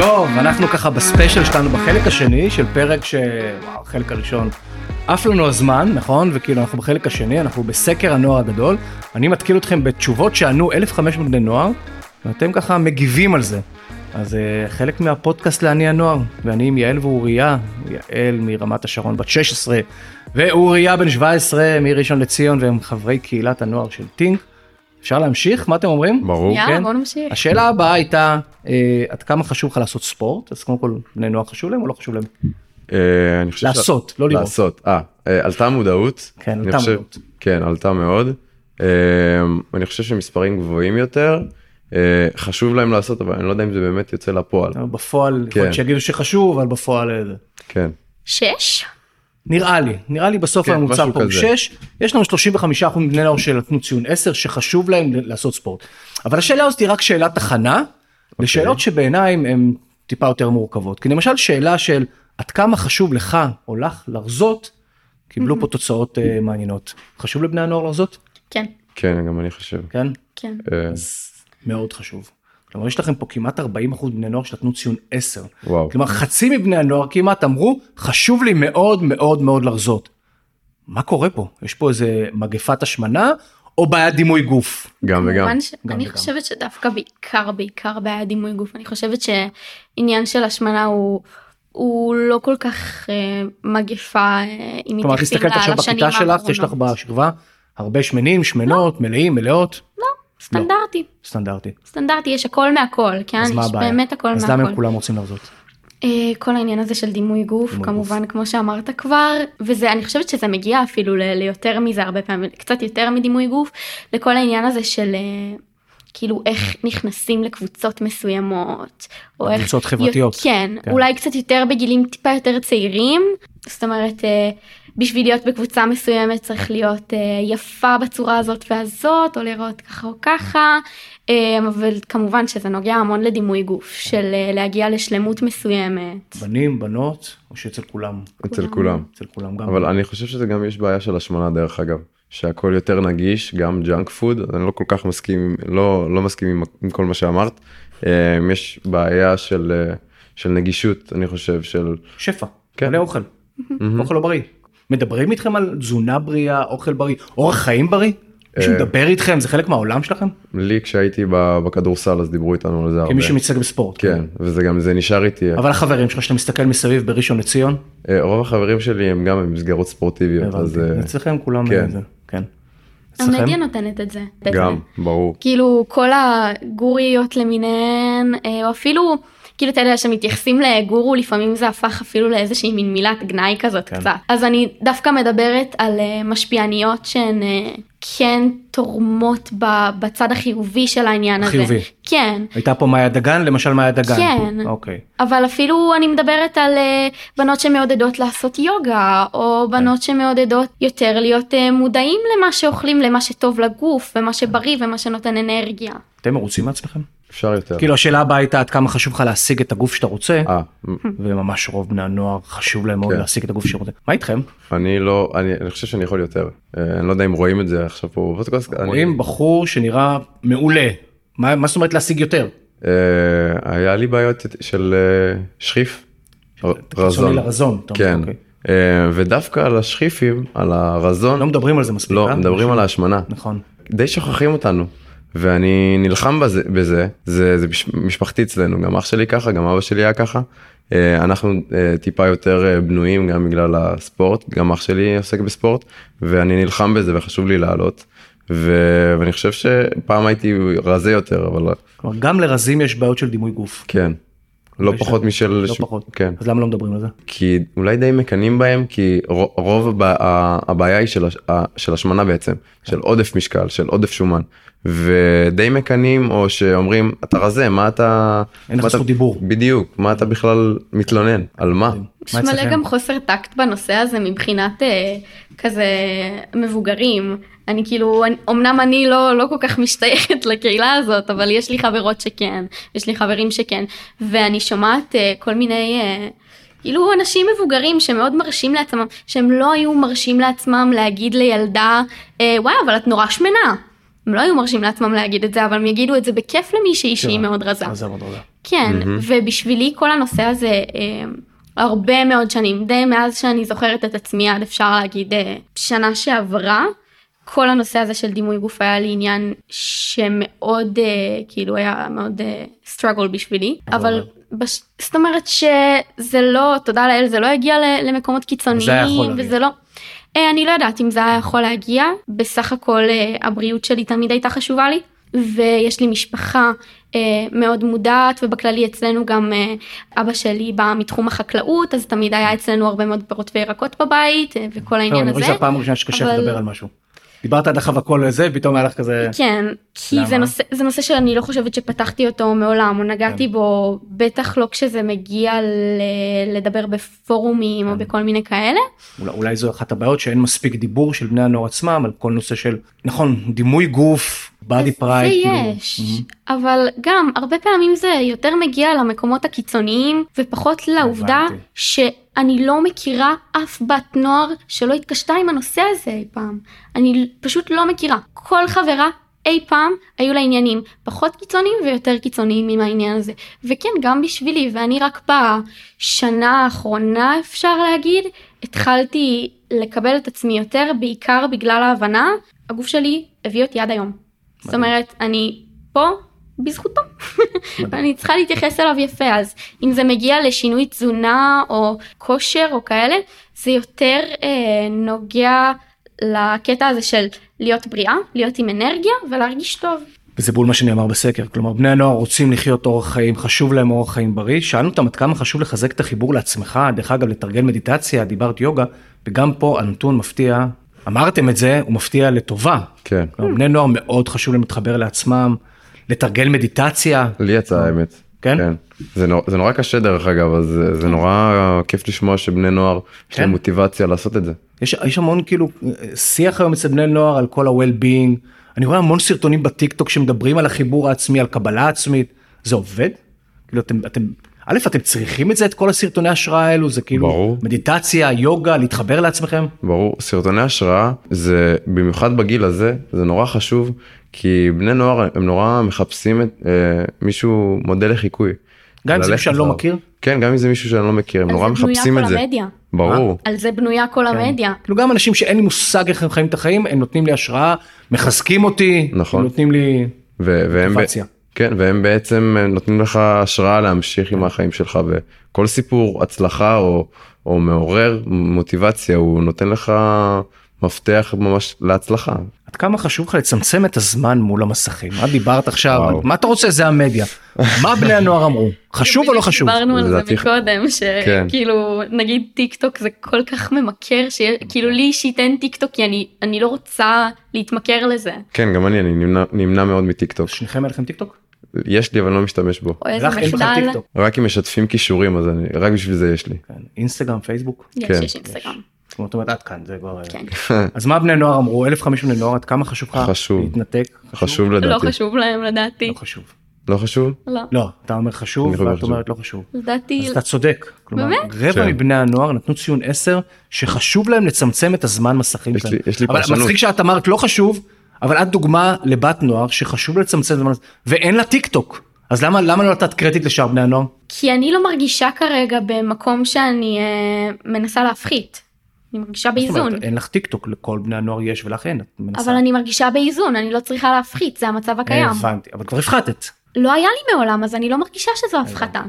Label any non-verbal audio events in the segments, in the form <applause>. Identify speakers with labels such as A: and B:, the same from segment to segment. A: טוב, אנחנו ככה בספיישל שלנו בחלק השני של פרק ש... וואו, החלק הראשון. עף לנו הזמן, נכון? וכאילו אנחנו בחלק השני, אנחנו בסקר הנוער הגדול. אני מתקיל אתכם בתשובות שענו 1,500 בני נוער, ואתם ככה מגיבים על זה. אז אה, חלק מהפודקאסט לעני הנוער, ואני עם יעל ואוריה, יעל מרמת השרון בת 16, ואוריה בן 17 מראשון לציון, והם חברי קהילת הנוער של טינק. אפשר להמשיך? מה אתם אומרים?
B: ברור.
A: כן.
C: יאללה, בוא נמשיך.
A: השאלה הבאה הייתה, אה, עד כמה חשוב לך לעשות ספורט? אז קודם כל, בני נוער חשוב להם או לא חשוב להם?
B: אה, אני חושב ש-
A: לעשות, לא לראות.
B: לעשות. אה, אה, עלתה המודעות.
A: כן,
B: אני
A: עלתה
B: חושב-
A: המודעות.
B: כן, עלתה מאוד. אה, אני חושב שמספרים גבוהים יותר. אה, חשוב להם לעשות, אבל אני לא יודע אם זה באמת יוצא לפועל.
A: אבל בפועל, יכול להיות
B: כן.
A: שיגידו שחשוב, אבל בפועל... אה, זה.
B: כן.
C: שש?
A: נראה לי, נראה לי בסוף
B: כן,
A: הממוצע
B: משהו
A: פה הוא
B: כזה.
A: 6, יש לנו 35% מבני נוער שנתנו ציון 10 שחשוב להם ל- לעשות ספורט. אבל השאלה הזאת היא רק שאלת הכנה,
B: אוקיי.
A: לשאלות שבעיניי הן טיפה יותר מורכבות. כי למשל שאלה של עד כמה חשוב לך או לך לרזות,
C: Mm-hmm.
A: קיבלו פה תוצאות אה, מעניינות. חשוב לבני הנוער לרזות?
C: כן,
B: כן, גם אני חושב.
A: כן?
C: כן.
B: אה,
A: מאוד חשוב. כלומר יש לכם פה כמעט 40% בני נוער שנתנו ציון 10.
B: וואו.
A: כלומר חצי מבני הנוער כמעט אמרו חשוב לי מאוד מאוד מאוד לחזות. מה קורה פה? יש פה איזה מגפת השמנה או בעיית דימוי גוף?
B: גם וגם.
C: כמובן ש-
A: גם
C: אני
A: וגם.
C: חושבת שדווקא בעיקר, בעיקר בעיה דימוי גוף. אני חושבת שעניין של השמנה הוא... הוא לא כל כך אה, מגפה אה, אם
A: כלומר את
C: מתייחסים
A: מסתכלת עכשיו
C: ל- לשנים
A: בכיתה שלך יש לך
C: האחרונות. לא.
A: בשכבה הרבה שמנים שמנות מלאים מלאות לא.
C: סטנדרטי,
A: סטנדרטי.
C: סטנדרטי, יש הכל מהכל, כן?
A: אז מה
C: יש
A: הבעיה?
C: באמת הכל
A: אז למה הם
C: מהכל.
A: כולם רוצים לחזות?
C: אה, כל העניין הזה של דימוי גוף,
A: דימוי
C: כמובן, כמו שאמרת כבר, וזה, אני חושבת שזה מגיע אפילו ל- ליותר מזה הרבה פעמים, קצת יותר מדימוי גוף, לכל העניין הזה של... אה, כאילו איך נכנסים לקבוצות מסוימות, או איך...
A: קבוצות חברתיות.
C: כן,
A: כן.
C: כן, אולי קצת יותר בגילים טיפה יותר צעירים, זאת אומרת אה, בשביל להיות בקבוצה מסוימת צריך להיות אה, יפה בצורה הזאת והזאת, או להיראות ככה או ככה, אה, אבל כמובן שזה נוגע המון לדימוי גוף, של אה, להגיע לשלמות מסוימת.
A: בנים בנות או שאצל כולם?
B: אצל כולם.
A: אצל כולם גם.
B: אבל אני חושב שזה גם יש בעיה של השמנה דרך אגב. שהכל יותר נגיש גם ג'אנק פוד אז אני לא כל כך מסכים לא לא מסכים עם, עם כל מה שאמרת אה, יש בעיה של אה, של נגישות אני חושב של
A: שפע,
B: כן.
A: מלא אוכל, אוכל לא בריא. מדברים איתכם על תזונה בריאה, אוכל בריא, אורח חיים בריא?
B: אה.
A: מישהו מדבר איתכם? זה חלק מהעולם שלכם?
B: לי כשהייתי ב- בכדורסל אז דיברו איתנו על זה הרבה.
A: כמי שמתעסק בספורט.
B: כן וזה גם זה נשאר איתי
A: אבל החברים שלך שאתה מסתכל מסביב בראשון לציון,
B: אה, רוב החברים שלי הם גם במסגרות ספורטיביות אז אה,
A: הבנתי. אצלכם כולם,
B: כן.
A: אה, זה, כן.
C: המדיה
A: אצלכם?
C: נותנת את זה.
B: גם ברור
C: כאילו כל הגוריות למיניהן אה, או אפילו כאילו אתה יודע שמתייחסים לגורו לפעמים זה הפך אפילו לאיזושהי מין מילת גנאי כזאת
A: כן.
C: כן. קצת אז אני דווקא מדברת על אה, משפיעניות שהן אה, כן תורמות ב- בצד החיובי של העניין
A: חיובי.
C: הזה כן
A: הייתה פה מאיה דגן, למשל מאיה דגן.
C: כן.
A: אוקיי.
C: אבל אפילו אני מדברת על אה, בנות שמעודדות לעשות יוגה, או בנות שמעודדות יותר להיות אה, מודעים למה שאוכלים, למה שטוב לגוף, ומה שבריא ומה שנותן אנרגיה.
A: אתם מרוצים מעצמכם?
B: אפשר יותר.
A: כאילו השאלה הבאה הייתה עד כמה חשוב לך להשיג את הגוף שאתה רוצה,
B: אה,
A: וממש רוב בני הנוער חשוב להם מאוד
B: כן.
A: להשיג את הגוף שרוצה. מה איתכם?
B: אני לא אני, אני חושב שאני יכול יותר אה, אני לא יודע אם רואים את זה עכשיו פה בפודקאסט. אני-
A: רואים בחור שנראה מעולה, מה מה זאת אומרת להשיג יותר?
B: אה, היה לי בעיות של אה, שכיף.
A: חיצוני לרזון. אתה אומר,
B: כן.
A: אוקיי.
B: אה, ודווקא על השכיפים, על הרזון,
A: לא מדברים על זה מספיק.
B: לא,
A: אה?
B: מדברים על ההשמנה.
A: נכון.
B: די שוכחים אותנו. ואני נלחם בזה, בזה, זה, זה בש- משפחתי אצלנו, גם אח שלי ככה, גם אבא שלי היה ככה. אה, אנחנו אה, טיפה יותר אה, בנויים גם בגלל הספורט, גם אח שלי עוסק בספורט, ואני נלחם בזה וחשוב לי לעלות. ו- ואני חושב שפעם הייתי רזה יותר, אבל
A: כלומר, גם לרזים יש בעיות של דימוי גוף.
B: כן, לא
A: יש
B: פחות
A: לך-
B: משל...
A: לא
B: ש-
A: פחות.
B: כן.
A: אז למה לא מדברים על זה?
B: כי אולי די מקנאים בהם כי רו- רוב הבע... ה- הבעיה היא של, הש... ה- של השמנה בעצם של עודף משקל של עודף שומן ודי מקנאים או שאומרים אתה רזה מה אתה
A: אין לך
B: מה אתה-
A: זכות דיבור.
B: בדיוק מה אתה בכלל מתלונן על מה
C: יש
A: מה
C: מלא
A: אצלכם?
C: גם חוסר טקט בנושא הזה מבחינת אה, כזה מבוגרים. אני כאילו, אני- אמנם אני לא, לא כל כך משתייכת לקהילה הזאת, אבל יש לי חברות שכן, יש לי חברים שכן, ואני שומעת אה, כל מיני, אה, כאילו אנשים מבוגרים שמאוד מרשים לעצמם, שהם לא היו מרשים לעצמם להגיד לילדה, אה, וואי, אבל את נורא שמנה. הם לא היו מרשים לעצמם להגיד את זה, אבל הם יגידו את זה בכיף למישהי שהיא
A: כן.
C: מאוד רזה.
A: אז זה מאוד רזה.
C: כן,
B: מהמם.
C: ובשבילי כל הנושא הזה אה, הרבה מאוד שנים, די מאז שאני זוכרת את עצמי עד אפשר להגיד אה, שנה שעברה, כל הנושא הזה של דימוי גוף היה לי עניין שמאוד אה, כאילו היה מאוד אה, struggle בשבילי,
A: מה זה
C: אבל
A: אומר?
C: בש... זאת אומרת שזה לא, תודה לאל, זה לא הגיע ל- למקומות קיצוניים,
A: זה היה יכול להגיע.
C: וזה לא. אה, אני לא יודעת אם זה היה יכול להגיע, בסך הכל אה, הבריאות שלי תמיד הייתה חשובה לי, ויש לי משפחה אה, מאוד מודעת, ובכללי אצלנו גם אה, אבא שלי בא מתחום החקלאות, אז תמיד היה אצלנו הרבה מאוד פירות וירקות בבית, אה, וכל
A: לא,
C: העניין
A: אני חושב
C: הזה.
A: שזו הפעם הראשונה שקשה
C: אבל-
A: לדבר על משהו. דיברת עד עכשיו הכל על זה, פתאום היה לך כזה...
C: כן, כי
A: למה?
C: זה נושא, זה נושא שאני לא חושבת שפתחתי אותו מעולם, או נגעתי
A: כן.
C: בו, בטח לא כשזה מגיע ל- לדבר בפורומים
A: כן.
C: או בכל מיני כאלה.
A: אולי, אולי זו אחת הבעיות שאין מספיק דיבור של בני הנוער עצמם על כל נושא של נכון דימוי גוף body pride. כאילו.
C: ויש, אבל גם הרבה פעמים זה יותר מגיע למקומות הקיצוניים ופחות לעובדה
A: הבנתי.
C: שאני לא מכירה אף בת נוער שלא התקשתה עם הנושא הזה אי פעם. אני פשוט לא מכירה. כל חברה אי פעם היו לה עניינים פחות קיצוניים ויותר קיצוניים עם העניין הזה. וכן, גם בשבילי, ואני רק בשנה האחרונה אפשר להגיד, התחלתי לקבל את עצמי יותר בעיקר בגלל ההבנה, הגוף שלי הביא אותי עד היום. זאת אומרת, אני פה בזכותו. אני צריכה להתייחס אליו יפה אז אם זה מגיע לשינוי תזונה או כושר או כאלה זה יותר אה, נוגע לקטע הזה של להיות בריאה להיות עם אנרגיה ולהרגיש טוב.
A: וזה בול מה שנאמר בסקר כלומר בני הנוער רוצים לחיות אורח חיים חשוב להם אורח חיים בריא שאלנו אותם עד כמה חשוב לחזק את החיבור לעצמך דרך אגב לתרגל מדיטציה דיברת יוגה וגם פה הנתון מפתיע אמרתם את זה הוא מפתיע לטובה.
B: כן.
A: כלומר, בני נוער מאוד חשוב להם להתחבר לעצמם לתרגל מדיטציה
B: לי יצא האמת.
A: כן?
B: זה, נור, זה נורא קשה דרך אגב, אז זה, זה נורא כיף לשמוע שבני נוער יש
A: כן.
B: להם מוטיבציה לעשות את זה.
A: יש, יש המון כאילו שיח היום אצל בני נוער על כל ה-well-being. אני רואה המון סרטונים בטיקטוק שמדברים על החיבור העצמי, על קבלה עצמית. זה עובד? כאילו אתם, אתם, א', אתם צריכים את זה, את כל הסרטוני השראה האלו? זה כאילו
B: ברור.
A: מדיטציה, יוגה, להתחבר לעצמכם?
B: ברור, סרטוני השראה זה במיוחד בגיל הזה זה נורא חשוב כי בני נוער הם נורא מחפשים את אה, מישהו מודל לחיקוי.
A: גם אם זה
B: ללכת
A: מישהו שאני לא
B: אחריו.
A: מכיר?
B: כן גם אם זה מישהו שאני לא מכיר הם
C: על
B: נורא
C: זה בנויה
B: מחפשים
C: כל
B: את זה. כן.
C: המדיה.
B: ברור.
A: אה,
C: על זה בנויה כל המדיה.
A: כאילו גם אנשים שאין לי מושג איך הם חיים את החיים, הם נותנים לי השראה, מחזקים אותי,
B: נכון.
A: הם נותנים לי...
B: ו- והם,
A: מוטיבציה.
B: כן, והם בעצם נותנים לך השראה להמשיך עם החיים שלך וכל סיפור הצלחה או, או מעורר מוטיבציה הוא נותן לך מפתח ממש להצלחה.
A: עד כמה חשוב לך לצמצם את הזמן מול המסכים? מה דיברת עכשיו?
B: וואו.
A: מה אתה רוצה? זה המדיה. מה בני הנוער אמרו? חשוב או לא
C: בדיוק
A: חשוב?
C: דיברנו על זה
B: לדעתי-
C: מקודם
B: כן.
C: שכאילו נגיד טיק טוק זה כל כך ממכר שכאילו
B: כן.
C: לי אישית אין טיק טוק כי אני אני לא רוצה להתמכר לזה.
B: כן גם אני אני נמנע, נמנע מאוד מטיקטוק
A: שניכם היה לכם טיקטוק?
B: יש לי אבל אני לא משתמש בו
C: או איזה
A: לך אין בכלל
C: מחדל.
A: טיקטוק.
B: רק אם משתפים כישורים אז אני רק בשביל זה יש לי.
A: כן. אינסטגרם, פייסבוק?
C: יש
B: כן.
C: יש אינסטגרם.
A: כלומר, את אומרת עד כאן, זה כבר...
C: כן.
A: אז מה בני נוער אמרו? 1,500 בני נוער, עד כמה חשוב לך
B: חשוב.
A: להתנתק?
B: חשוב
C: לא
B: לדעתי.
C: חשוב להם לדעתי.
A: לא חשוב.
B: לא חשוב?
C: לא.
A: לא, אתה אומר חשוב,
B: אני חושב
A: ואת
B: חשוב.
A: אומרת לא חשוב.
C: לדעתי
A: אז אתה צודק. כלומר,
C: באמת?
A: רבע
B: כן.
A: מבני הנוער נתנו ציון 10, שחשוב להם לצמצם את הזמן מסכים
B: יש
A: שלהם.
B: לי- יש לי
A: אבל
B: פרשנות.
A: מצחיק שאת אמרת לא חשוב, אבל את דוגמה לבת נוער שחשוב לצמצם את הזמן, ואין לה טיק טוק. אז למה למה לא נתת קרדיט לשאר בני הנוער?
C: כי אני לא מרגישה כרגע במקום שאני אה, מנסה להפחית. אני מרגישה
A: זאת אומרת,
C: באיזון.
A: אין לך טיק טוק, לכל בני הנוער יש ולך אין, את מנסה. אה,
C: אבל אני מרגישה באיזון, אני לא צריכה להפחית, זה המצב הקיים.
A: הבנתי, אבל כבר הפחתת.
C: לא היה לי מעולם, אז אני לא מרגישה שזו
A: אה,
C: הפחתה.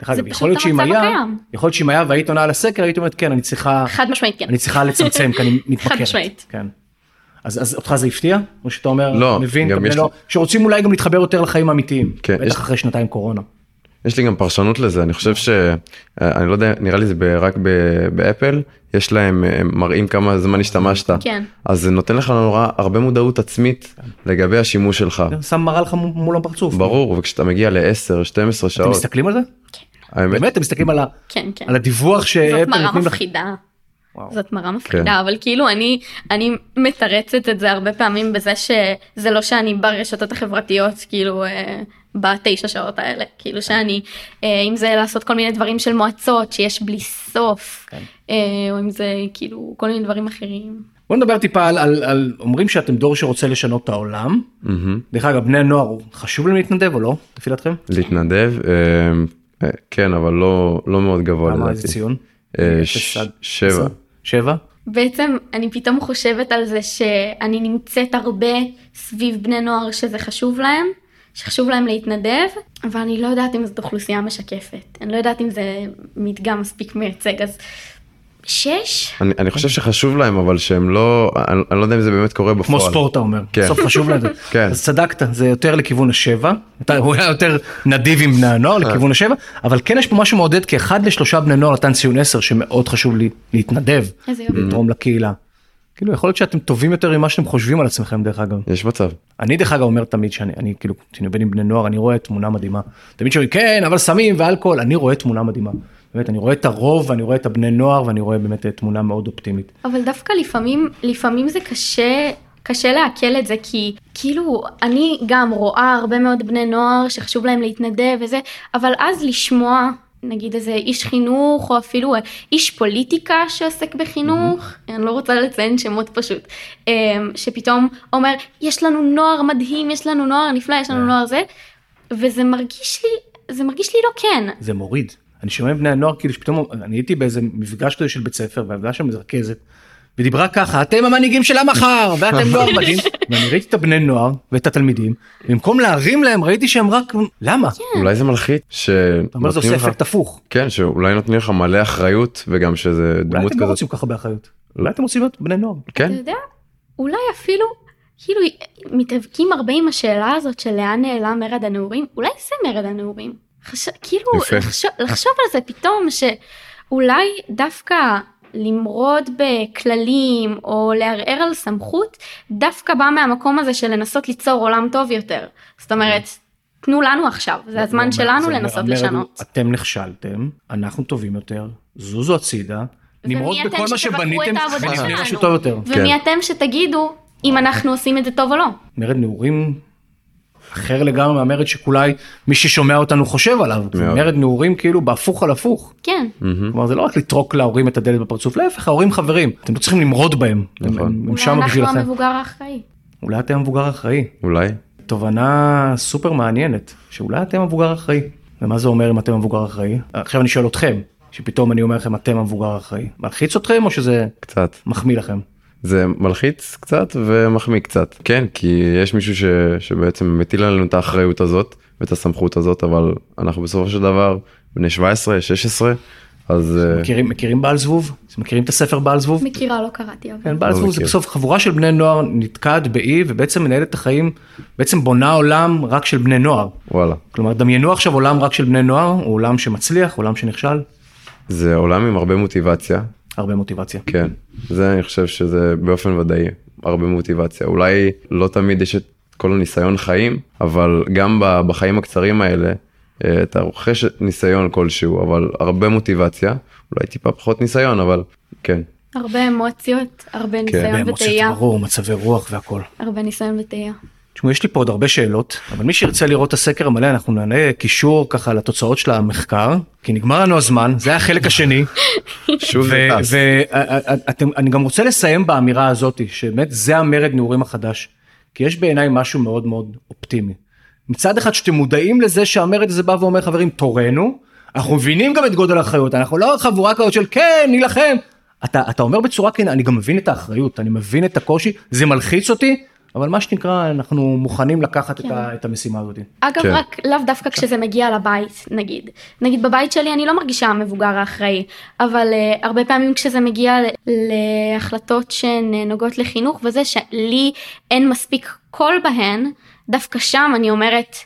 A: דרך אגב,
C: פשוט
A: יכול להיות שאם
C: המצב
A: היה,
C: הקיים.
A: יכול להיות שאם היה והיית עונה על הסקר, היית אומרת כן, אני צריכה,
C: חד משמעית כן.
A: אני צריכה לצמצם,
C: <laughs>
A: כי אני מתמכרת.
C: משמעית.
A: כן. אז, אז אותך זה הפתיע? או שאתה אומר,
B: לא,
A: מבין,
B: גם
A: גם
B: יש
A: לא, שרוצים אולי גם להתחבר יותר לחיים האמיתיים.
B: כן,
A: בטח
B: יש-
A: אחרי שנתיים קורונה.
B: יש לי גם פרשנות לזה אני חושב ש... אה, אני לא יודע נראה לי זה ב- רק ב- באפל יש להם אה, הם מראים כמה זמן השתמשת
C: כן.
B: אז זה נותן לך נורא הרבה מודעות עצמית לגבי השימוש שלך
A: שם מראה לך מ- מול הפרצוף.
B: ברור וכשאתה מגיע ל-10 12
A: אתם
B: שעות
A: מסתכלים על זה?
B: האמת
A: באמת? אתם מסתכלים על ה-
C: כן, כן.
A: על הדיווח
C: זאת
A: שאפל
C: מראה
A: נותנים לך?
C: מפחידה.
A: וואו.
C: זאת מראה מפחידה, אבל כאילו אני אני מתרצת את זה הרבה פעמים בזה שזה לא שאני ברשתות החברתיות כאילו אה, בתשע שעות האלה, כאילו שאני, אה, אם זה לעשות כל מיני דברים של מועצות שיש בלי סוף,
A: כן.
C: אה, או אם זה כאילו כל מיני דברים אחרים.
A: בוא נדבר טיפה על, על, על אומרים שאתם דור שרוצה לשנות את העולם.
B: מהמם.
A: דרך אגב, בני נוער, חשוב להם להתנדב או לא? לפי דעתכם?
B: להתנדב, אה, אה, כן, אבל לא, לא מאוד גבוה
A: למה איזה
B: לדעתי.
A: ציון?
B: אה,
A: אפס
B: ש-
A: עד
B: שבע.
A: עשר? שבע?
C: בעצם אני פתאום חושבת על זה שאני נמצאת הרבה סביב בני נוער שזה חשוב להם, שחשוב להם להתנדב, אבל אני לא יודעת אם זאת אוכלוסייה משקפת. אני לא יודעת אם זה מדגם מספיק מייצג, אז שש?
B: אני, אני חושב שחשוב להם, אבל שהם לא, אני, אני לא יודע אם זה באמת קורה בפועל.
A: כמו ספורט אתה אומר,
B: כן.
A: בסוף חשוב לזה.
B: <laughs> כן.
A: אז צדקת, זה יותר לכיוון השבע, אתה- הוא היה יותר נדיב עם בני הנוער
B: אה.
A: לכיוון השבע, אבל כן יש פה משהו מעודד, כי אחד לשלושה בני נוער נתן ציון עשר שמאוד חשוב לי להתנדב,
C: איזה יופי.
B: Mm.
A: לתרום לקהילה. כאילו יכול להיות שאתם טובים יותר ממה שאתם חושבים על עצמכם דרך אגב.
B: יש מצב.
A: אני דרך אגב אומר תמיד שאני אני כאילו כשאני עובד עם בני נוער אני רואה תמונה מדהימה. תמיד שאומרים כן אבל סמים ואלכוהול אני רואה תמונה מדהימה. באמת אני רואה את הרוב ואני רואה את הבני נוער ואני רואה באמת אה, תמונה מאוד אופטימית.
C: אבל דווקא לפעמים, לפעמים זה קשה, קשה לעכל את זה, כי כאילו, אני גם רואה הרבה מאוד בני נוער שחשוב להם להתנדב וזה, אבל אז לשמוע, נגיד איזה איש חינוך, או אפילו אה, איש פוליטיקה שעוסק בחינוך, אני לא רוצה לציין שמות פשוט, אמ, שפתאום אומר, יש לנו נוער מדהים, יש לנו נוער נפלא, יש לנו נוער זה, וזה מרגיש לי, זה מרגיש לי לא כן.
A: זה מוריד. אני שומע בני הנוער כאילו שפתאום אני הייתי באיזה מפגש כזה של בית ספר והעבודה שם איזה רכזת. ודיברה ככה אתם המנהיגים של המחר ואתם נוער מדהים <laughs> ואני ראיתי את הבני נוער ואת התלמידים במקום להרים להם ראיתי שהם רק למה.
C: כן.
B: אולי זה מלחיץ
A: אתה אומר זה
B: שנותנים
A: עושה
B: לך,
A: אפקט הפוך.
B: כן, שאולי נותנים לך מלא אחריות וגם שזה
A: אולי
B: דמות
A: אתם אוקיי. לא
B: כזאת.
A: רוצים ככה באחריות. אולי אתם רוצים להיות בני נוער.
B: כן,
C: אתה יודע, אולי אפילו, כאילו, מתאבקים הרבה עם השאלה הזאת של לאן נעלם מרד הנעורים, אולי זה מרד הנעורים. חש... כאילו,
B: יפה.
C: לחשוב, לחשוב על זה פתאום, שאולי דווקא למרוד בכללים, או לערער על סמכות, דווקא בא מהמקום הזה של לנסות ליצור עולם טוב יותר. זאת אומרת, תנו לנו עכשיו, זה הזמן שלנו
A: לא, זה
C: לנסות
A: אומר,
C: לשנות.
A: אתם נכשלתם, אנחנו טובים יותר, זוזו הצידה,
C: ומי
A: נמרוד
C: אתם
A: בכל מה
C: שתבקרו את
A: שבניתם
C: העבודה
A: ונבנה
C: שלנו?
A: משהו טוב יותר.
C: ומי אתם שתגידו אם אנחנו עושים את זה טוב או לא.
A: מרד נעורים אחר לגמרי מהמרד שכולי מי ששומע אותנו חושב עליו. זה
B: מאוד.
A: מרד נעורים כאילו בהפוך על הפוך.
C: כן.
A: כלומר זה לא רק לטרוק להורים את הדלת בפרצוף, להפך ההורים חברים, אתם לא צריכים למרוד בהם. הם-
B: נכון.
A: הם הם
C: אולי
A: שם
C: אנחנו
A: בשבילכם.
C: המבוגר האחראי.
A: אולי אתם המבוגר האחראי.
B: אולי.
A: תובנה סופר מעניינת, שאולי אתם המבוגר האחראי. ומה זה אומר אם אתם המבוגר האחראי? עכשיו אני שואל אתכם, שפתאום אני אומר לכם אתם המבוגר האחראי. מלחיץ אתכם או שזה
B: קצת.
A: מחמיא לכם?
B: זה מלחיץ קצת ומחמיא קצת. כן, כי יש מישהו ש... שבעצם מטיל עלינו את האחריות הזאת ואת הסמכות הזאת, אבל אנחנו בסופו של דבר בני 17, 16, אז אה,
A: מכירים, מכירים בעל זבוב? מכירים את הספר בעל זבוב?
C: מכירה, לא קראתי. אבל.
A: כן, בעל
B: לא
A: זבוב זה
B: מכיר.
A: בסוף חבורה של בני נוער נתקעת באי ובעצם מנהלת את החיים, בעצם בונה עולם רק של בני נוער.
B: וואלה.
A: כלומר דמיינו עכשיו עולם רק של בני נוער, הוא עולם שמצליח, עולם שנכשל,
B: זה עולם עם הרבה מוטיבציה,
A: הרבה מוטיבציה.
B: כן. זה אני חושב שזה באופן ודאי, הרבה מוטיבציה. אולי לא תמיד יש את כל הניסיון חיים, אבל גם ב- בחיים הקצרים האלה, אה, אתה רוכש ניסיון כלשהו, אבל הרבה מוטיבציה, אולי טיפה פחות ניסיון, אבל כן.
C: הרבה אמוציות, הרבה ניסיון
A: באמוציות,
C: וטעייה.
A: כן, ברור, מצבי רוח והכל.
C: הרבה ניסיון וטעייה.
A: תשמעו, יש לי פה עוד הרבה שאלות, אבל מי שירצה לראות את הסקר המלא, אנחנו נענה קישור ככה לתוצאות של המחקר, כי נגמר לנו הזמן, זה היה החלק השני,
B: שוב זה טס.
A: ואני גם רוצה לסיים באמירה הזאת, שבאמת זה המרד נעורים החדש, כי יש בעיניי משהו מאוד מאוד אופטימי. מצד אחד שאתם מודעים לזה שהמרד הזה בא ואומר, חברים, תורנו, אנחנו מבינים גם את גודל האחריות, אנחנו לא חבורה כזאת של כן, נילחם. אתה, אתה אומר בצורה כנה, אני גם מבין את האחריות, אני מבין את הקושי, זה מלחיץ אותי, אבל מה שנקרא, אנחנו מוכנים לקחת את, ה, את המשימה הזאת.
C: אגב,
B: כן.
C: רק לאו דווקא כשזה מגיע לבית, נגיד. נגיד בבית שלי אני לא מרגישה המבוגר האחראי, אבל uh, הרבה פעמים כשזה מגיע ל- להחלטות שהן אה, נוגעות לחינוך וזה שלי אין מספיק קול בהן, דווקא שם אני אומרת,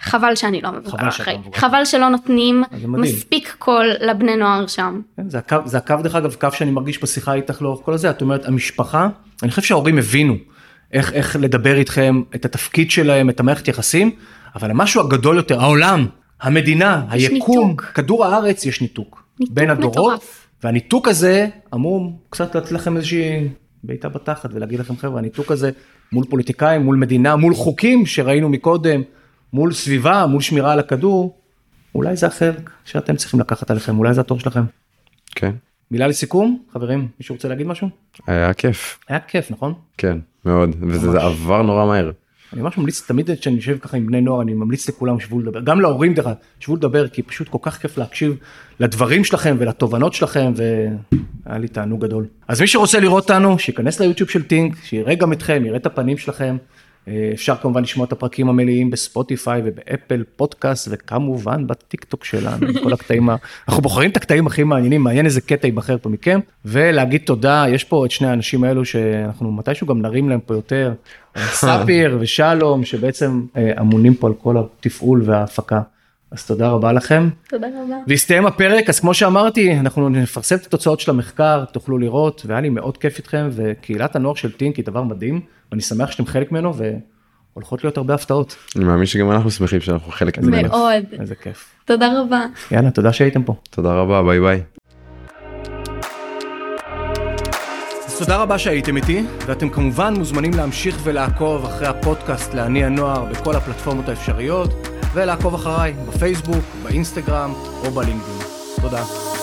C: חבל שאני לא המבוגר
A: חבל שאת לא
C: האחראי.
A: המבוגר.
C: חבל שלא נותנים
A: אז זה מדהים.
C: מספיק קול לבני נוער שם.
A: כן, זה הקו, זה הקו דרך אגב, קו שאני מרגיש בשיחה איתך לאורך כל הזה, את אומרת המשפחה, אני חושב שההורים הבינו איך, איך לדבר איתכם, את התפקיד שלהם, את המערכת יחסים, אבל המשהו הגדול יותר, העולם, המדינה,
C: יש
A: היקום,
C: ניתוק.
A: כדור הארץ, יש ניתוק.
C: ניתוק
A: בין הדורות,
C: מטורף.
A: והניתוק הזה אמור קצת לתת לכם איזושהי בעיטה בתחת ולהגיד לכם חבר'ה, הניתוק הזה מול פוליטיקאים, מול מדינה, מול חוקים שראינו מקודם, מול סביבה, מול שמירה על הכדור, אולי זה החלק שאתם צריכים לקחת עליכם, אולי זה התור שלכם.
B: כן.
A: מילה לסיכום, חברים, מישהו רוצה להגיד משהו?
B: היה כיף,
A: היה כיף, נכון?
B: כן, מאוד, וזה זה עבר נורא מהר.
A: אני ממש ממליץ תמיד כשאני יושב ככה עם בני נוער אני ממליץ לכולם שבו לדבר גם להורים דרך אגב שבו לדבר כי פשוט כל כך כיף להקשיב לדברים שלכם ולתובנות שלכם והיה לי תענוג גדול אז מי שרוצה לראות אותנו שייכנס ליוטיוב של טינק שיראה גם אתכם יראה את הפנים שלכם אה, אפשר כמובן לשמוע את הפרקים המלאים בספוטיפיי ובאפל פודקאסט וכמובן בטיק טוק שלנו עם כל הקטעים ה- אנחנו בוחרים את הקטעים הכי מעניינים מעניין איזה קטע ייבחר פה מכם ולהגיד תודה יש פה את שני האנשים האלו שאנחנו מתישהו גם נרים להם פה יותר ספיר ושלום שבעצם אה, אמונים פה על כל התפעול וההפקה. אז תודה רבה לכם.
C: תודה רבה.
A: והסתיים הפרק אז כמו שאמרתי אנחנו נפרסם את התוצאות של המחקר תוכלו לראות והיה לי מאוד כיף איתכם וקהילת הנוער של טינק היא דבר מדהים ואני שמח שאתם חלק ממנו והולכות להיות הרבה הפתעות
B: אני מאמין שגם אנחנו שמחים שאנחנו חלק ממנו.
C: מאוד.
A: איזה כיף.
C: תודה רבה.
A: יאללה תודה שהייתם פה.
B: תודה רבה, ביי ביי.
A: אז תודה רבה שהייתם איתי, ואתם כמובן מוזמנים להמשיך ולעקוב אחרי הפודקאסט לעני הנוער בכל הפלטפורמות האפשריות, ולעקוב אחריי בפייסבוק, באינסטגרם או בלינקדאין. תודה.